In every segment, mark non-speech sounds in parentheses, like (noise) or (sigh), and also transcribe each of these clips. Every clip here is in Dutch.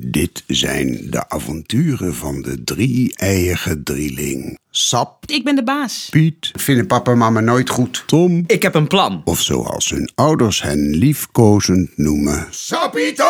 Dit zijn de avonturen van de drie-eiige drieling. Sap, Ik ben de baas. Piet, vinden papa en mama nooit goed. Tom, Ik heb een plan. of zoals hun ouders hen liefkozend noemen. Sapito!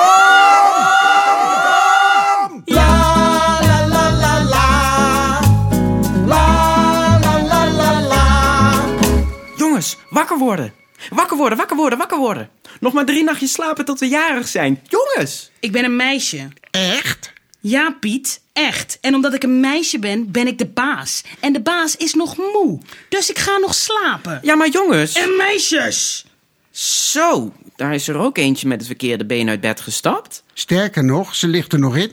Jongens, wakker worden. Wakker worden, wakker worden, wakker worden. Nog maar drie nachtjes slapen tot we jarig zijn. Jongens! Ik ben een meisje. Echt? Ja, Piet, echt. En omdat ik een meisje ben, ben ik de baas. En de baas is nog moe. Dus ik ga nog slapen. Ja, maar jongens. En meisjes! Zo, daar is er ook eentje met het verkeerde been uit bed gestapt. Sterker nog, ze ligt er nog in.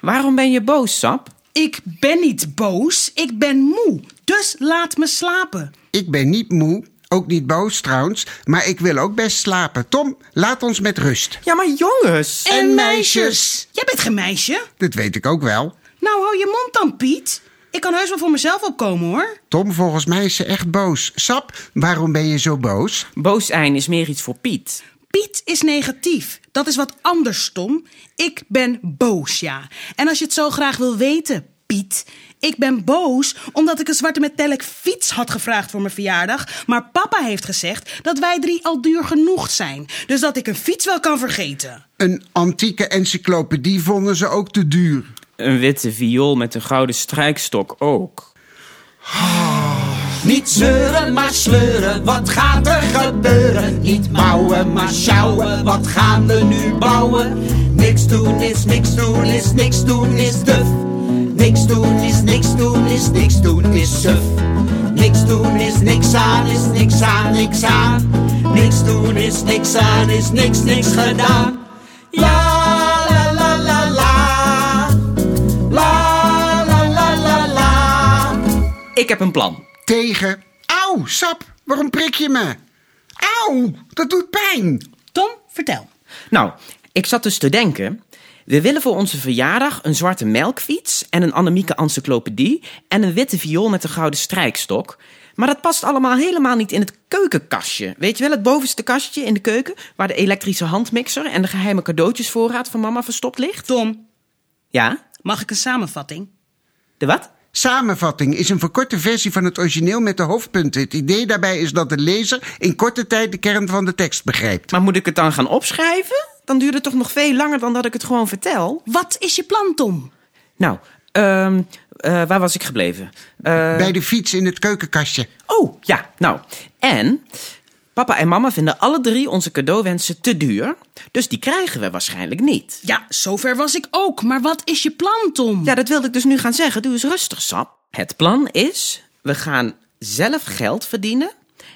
Waarom ben je boos, Sap? Ik ben niet boos, ik ben moe. Dus laat me slapen. Ik ben niet moe, ook niet boos trouwens, maar ik wil ook best slapen. Tom, laat ons met rust. Ja, maar jongens. En meisjes. Jij bent geen meisje. Dat weet ik ook wel. Nou, hou je mond dan, Piet. Ik kan heus wel voor mezelf opkomen, hoor. Tom, volgens mij is ze echt boos. Sap, waarom ben je zo boos? Boos zijn is meer iets voor Piet. Piet is negatief. Dat is wat anders, Tom. Ik ben boos, ja. En als je het zo graag wil weten, Piet. Ik ben boos omdat ik een zwarte metallic fiets had gevraagd voor mijn verjaardag. Maar papa heeft gezegd dat wij drie al duur genoeg zijn. Dus dat ik een fiets wel kan vergeten. Een antieke encyclopedie vonden ze ook te duur. Een witte viool met een gouden strijkstok ook. Niet zeuren, maar sleuren, wat gaat er gebeuren? Niet mouwen, maar sjouwen, wat gaan we nu bouwen? Niks doen is niks doen is niks doen is duf. Niks doen is niks doen is niks doen is suf. Niks doen is niks aan is niks aan niks aan. Niks doen is niks aan is niks niks gedaan. Ja, la la la la. La la la la la. Ik heb een plan. Tegen. Auw, Sap, waarom prik je me? Auw, dat doet pijn. Tom, vertel. Nou, ik zat dus te denken. We willen voor onze verjaardag een zwarte melkfiets en een Annemieke encyclopedie en een witte viool met een gouden strijkstok. Maar dat past allemaal helemaal niet in het keukenkastje. Weet je wel, het bovenste kastje in de keuken waar de elektrische handmixer en de geheime cadeautjesvoorraad van mama verstopt ligt? Tom, Ja? mag ik een samenvatting? De wat? Samenvatting is een verkorte versie van het origineel met de hoofdpunten. Het idee daarbij is dat de lezer in korte tijd de kern van de tekst begrijpt. Maar moet ik het dan gaan opschrijven? Dan duurt het toch nog veel langer dan dat ik het gewoon vertel? Wat is je plan, Tom? Nou, ehm, eh, waar was ik gebleven? Eh, Bij de fiets in het keukenkastje. Oh, ja, nou. En papa en mama vinden alle drie onze cadeauwensen te duur. Dus die krijgen we waarschijnlijk niet. Ja, zover was ik ook. Maar wat is je plan, Tom? Ja, dat wilde ik dus nu gaan zeggen. Doe eens rustig, Sap. Het plan is, we gaan zelf geld verdienen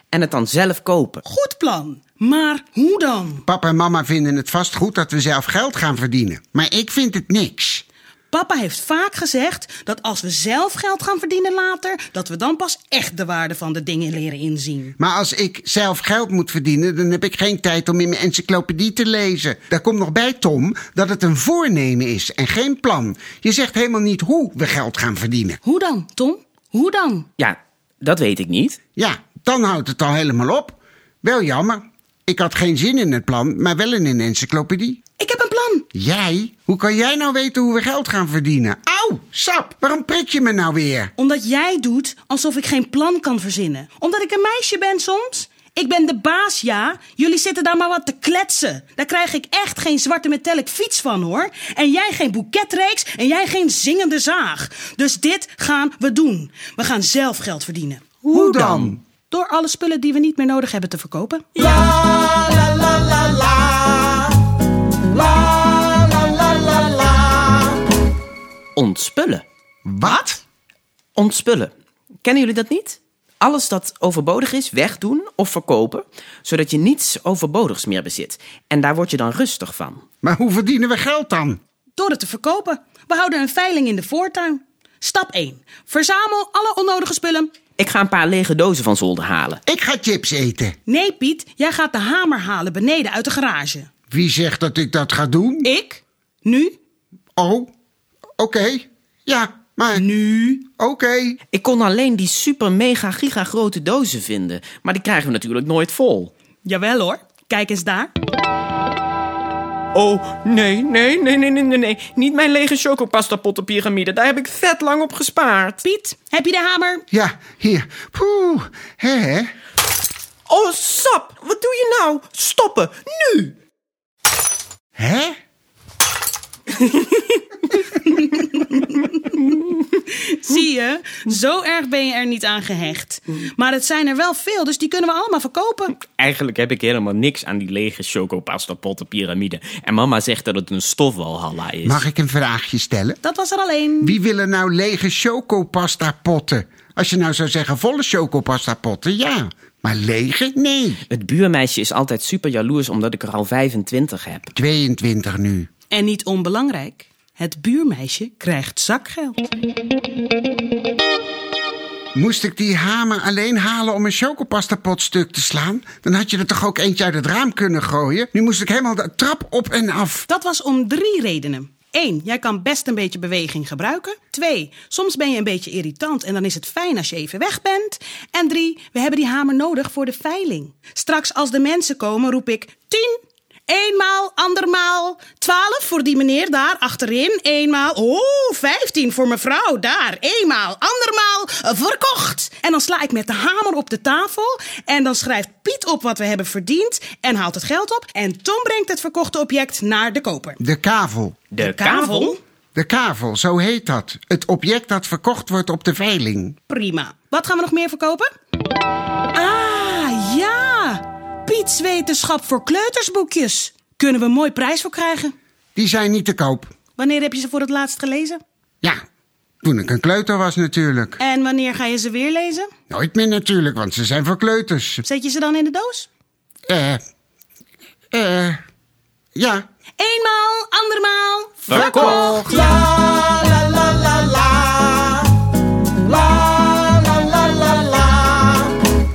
en het dan zelf kopen. Goed plan. Maar hoe dan? Papa en mama vinden het vast goed dat we zelf geld gaan verdienen. Maar ik vind het niks. Papa heeft vaak gezegd dat als we zelf geld gaan verdienen later, dat we dan pas echt de waarde van de dingen leren inzien. Maar als ik zelf geld moet verdienen, dan heb ik geen tijd om in mijn encyclopedie te lezen. Daar komt nog bij, Tom, dat het een voornemen is en geen plan. Je zegt helemaal niet hoe we geld gaan verdienen. Hoe dan, Tom? Hoe dan? Ja, dat weet ik niet. Ja, dan houdt het al helemaal op. Wel jammer. Ik had geen zin in het plan, maar wel in een encyclopedie. Ik heb een plan. Jij? Hoe kan jij nou weten hoe we geld gaan verdienen? Auw, sap, waarom prik je me nou weer? Omdat jij doet alsof ik geen plan kan verzinnen. Omdat ik een meisje ben soms. Ik ben de baas, ja. Jullie zitten daar maar wat te kletsen. Daar krijg ik echt geen zwarte metallic fiets van, hoor. En jij geen boeketreeks en jij geen zingende zaag. Dus dit gaan we doen. We gaan zelf geld verdienen. Hoe dan? Door alle spullen die we niet meer nodig hebben te verkopen. La la la la la. La la la la la. Ontspullen. Wat? Ontspullen. Kennen jullie dat niet? Alles dat overbodig is, wegdoen of verkopen, zodat je niets overbodigs meer bezit. En daar word je dan rustig van. Maar hoe verdienen we geld dan? Door het te verkopen. We houden een veiling in de voortuin. Stap 1. Verzamel alle onnodige spullen. Ik ga een paar lege dozen van zolder halen. Ik ga chips eten. Nee, Piet, jij gaat de hamer halen beneden uit de garage. Wie zegt dat ik dat ga doen? Ik? Nu? Oh, oké. Ja, maar... Nu? Oké. Ik kon alleen die super mega giga grote dozen vinden. Maar die krijgen we natuurlijk nooit vol. Jawel hoor. Kijk eens daar. oh, nee, nee, nee, nee, nee, nee, nee. Niet mijn lege chocopastapottenpiramide. Daar heb ik vet lang op gespaard. Piet, heb je de hamer? Ja, hier. Poeh, hè, hè. Oh, sap, wat doe je nou? Stoppen, nu! Hè? Zie je, zo erg ben je er niet aan gehecht. Maar het zijn er wel veel, dus die kunnen we allemaal verkopen. Eigenlijk heb ik helemaal niks aan die lege chocopastapottenpiramide. En mama zegt dat het een stofwalhalla is. Mag ik een vraagje stellen? Dat was er alleen. Wie willen nou lege chocopasta potten? Als je nou zou zeggen volle chocopasta potten, ja. Maar lege? Nee. Het buurmeisje is altijd super jaloers omdat ik er al 25 heb. 22 nu. En niet onbelangrijk, het buurmeisje krijgt zakgeld. Moest ik die hamer alleen halen om een chocopastapot stuk te slaan? Dan had je er toch ook eentje uit het raam kunnen gooien? Nu moest ik helemaal de trap op en af. Dat was om drie redenen. Eén, jij kan best een beetje beweging gebruiken. Twee, soms ben je een beetje irritant en dan is het fijn als je even weg bent. En drie, we hebben die hamer nodig voor de veiling. Straks als de mensen komen roep ik tien, eenmaal, andermaal, twaalf voor die meneer daar achterin, eenmaal. Oh, vijftien voor mevrouw daar, eenmaal, andermaal, eh, verkocht. En dan sla ik met de hamer op de tafel en dan schrijft Piet op wat we hebben verdiend en haalt het geld op. En Tom brengt het verkochte object naar de koper. De kavel. De De kavel, zo heet dat. Het object dat verkocht wordt op de veiling. Prima. Wat gaan we nog meer verkopen? Ah, ja! Piets Wetenschap voor kleutersboekjes. Kunnen we een mooi prijs voor krijgen. Die zijn niet te koop. Wanneer heb je ze voor het laatst gelezen? Ja, toen ik een kleuter was natuurlijk. En wanneer ga je ze weer lezen? Nooit meer natuurlijk, want ze zijn voor kleuters. Zet je ze dan in de doos? Eh, eh, ja. Eenmaal, andermaal. Verkocht. La la la la la. La la la la la.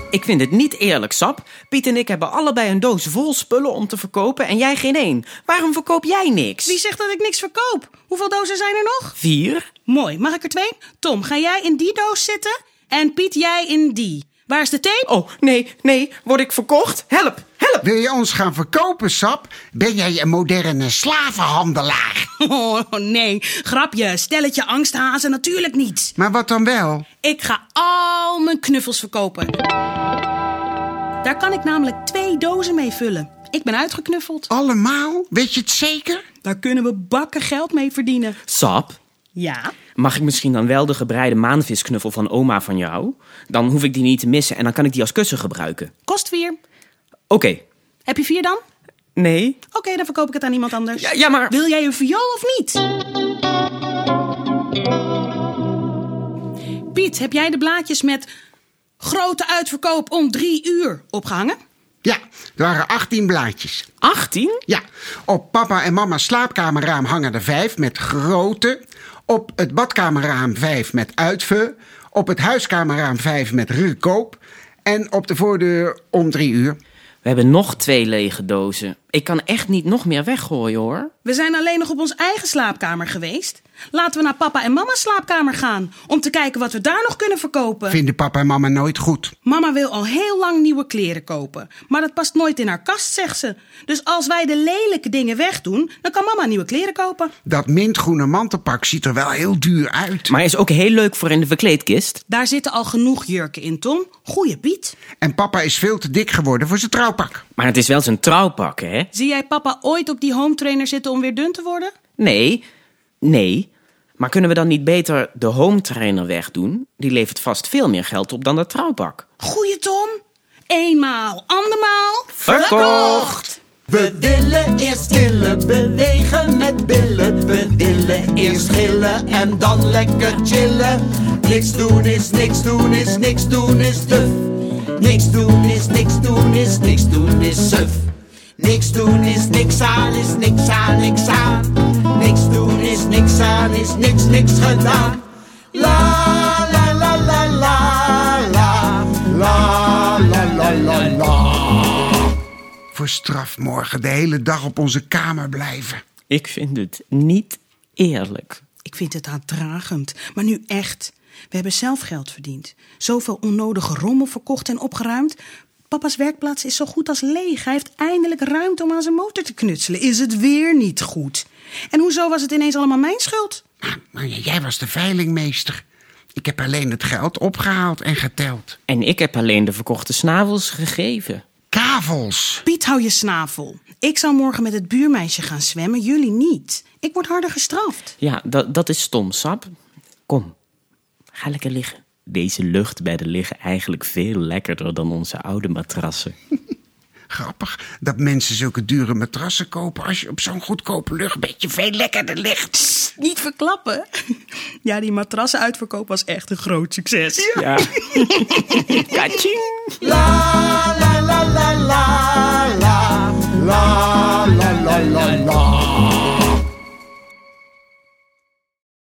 Ik vind het niet eerlijk, Sap. Piet en ik hebben allebei een doos vol spullen om te verkopen en jij geen één. Waarom verkoop jij niks? Wie zegt dat ik niks verkoop? Hoeveel dozen zijn er nog? Vier? Mooi, mag ik er twee? Tom, ga jij in die doos zitten? En Piet, jij in die. Waar is de tape? Oh, nee, nee. Word ik verkocht? Help, help. Wil je ons gaan verkopen, Sap? Ben jij een moderne slavenhandelaar? (laughs) Oh, nee, grapje, stelletje angsthazen, natuurlijk niet. Maar wat dan wel? Ik ga al mijn knuffels verkopen. Daar kan ik namelijk twee dozen mee vullen. Ik ben uitgeknuffeld. Allemaal? Weet je het zeker? Daar kunnen we bakken geld mee verdienen. Sap, Ja? mag ik misschien dan wel de gebreide maanvisknuffel van oma van jou? Dan hoef ik die niet te missen en dan kan ik die als kussen gebruiken. Kost vier. Oké. Heb je vier dan? Oké, Nee. dan verkoop ik het aan iemand anders. Ja, ja, maar... Wil jij een viool of niet? Piet, heb jij de blaadjes met grote uitverkoop om drie uur opgehangen? Ja, er waren 18 blaadjes. 18? Ja, op papa en mama's slaapkamerraam hangen er vijf met grote. Op het badkamerraam vijf met uitve. Op het huiskamerraam vijf met rukoop. En op de voordeur om drie uur. We hebben nog twee lege dozen. Ik kan echt niet nog meer weggooien, hoor. We zijn alleen nog op ons eigen slaapkamer geweest. Laten we naar papa en mama's slaapkamer gaan om te kijken wat we daar nog kunnen verkopen. Vinden papa en mama nooit goed. Mama wil al heel lang nieuwe kleren kopen, maar dat past nooit in haar kast, zegt ze. Dus als wij de lelijke dingen wegdoen, dan kan mama nieuwe kleren kopen. Dat mintgroene mantelpak ziet er wel heel duur uit. Maar is ook heel leuk voor in de verkleedkist. Daar zitten al genoeg jurken in, Tom. Goeie Piet. En papa is veel te dik geworden voor zijn trouwpak. Maar het is wel zijn trouwpak, hè? Zie jij papa ooit op die home trainer zitten om weer dun te worden? Nee, nee. Maar kunnen we dan niet beter de home trainer wegdoen? Die levert vast veel meer geld op dan dat trouwpak. Goeie Tom. Eenmaal, andermaal. Verkocht. We willen eerst chillen, bewegen met billen. We willen eerst gillen en dan lekker chillen. Niks doen is niks doen is niks doen is duf. Niks doen is niks doen is niks doen is suf. Niks doen is niks aan is niks aan niks aan. Niks doen is niks aan is niks niks gedaan. La la la la la la la la la la la. Voor straf morgen de hele dag op onze kamer blijven. Ik vind het niet eerlijk. Ik vind het aantragend, maar nu echt. We hebben zelf geld verdiend. Zoveel onnodige rommel verkocht en opgeruimd. Papa's werkplaats is zo goed als leeg. Hij heeft eindelijk ruimte om aan zijn motor te knutselen. Is het weer niet goed? En hoezo was het ineens allemaal mijn schuld? Maar, maar jij was de veilingmeester. Ik heb alleen het geld opgehaald en geteld. En ik heb alleen de verkochte snavels gegeven. Kavels. Piet, hou je snavel. Ik zou morgen met het buurmeisje gaan zwemmen, jullie niet. Ik word harder gestraft. Ja, dat, dat is stom, Sap. Kom, ga lekker liggen. Deze luchtbedden liggen eigenlijk veel lekkerder dan onze oude matrassen. Grappig dat mensen zulke dure matrassen kopen als je op zo'n goedkoop luchtbedje veel lekkerder ligt. Niet verklappen. (laughs) Ja, die matrassenuitverkoop was echt een groot succes. Ja. (laughs) Kaching. la la la la la la la la la la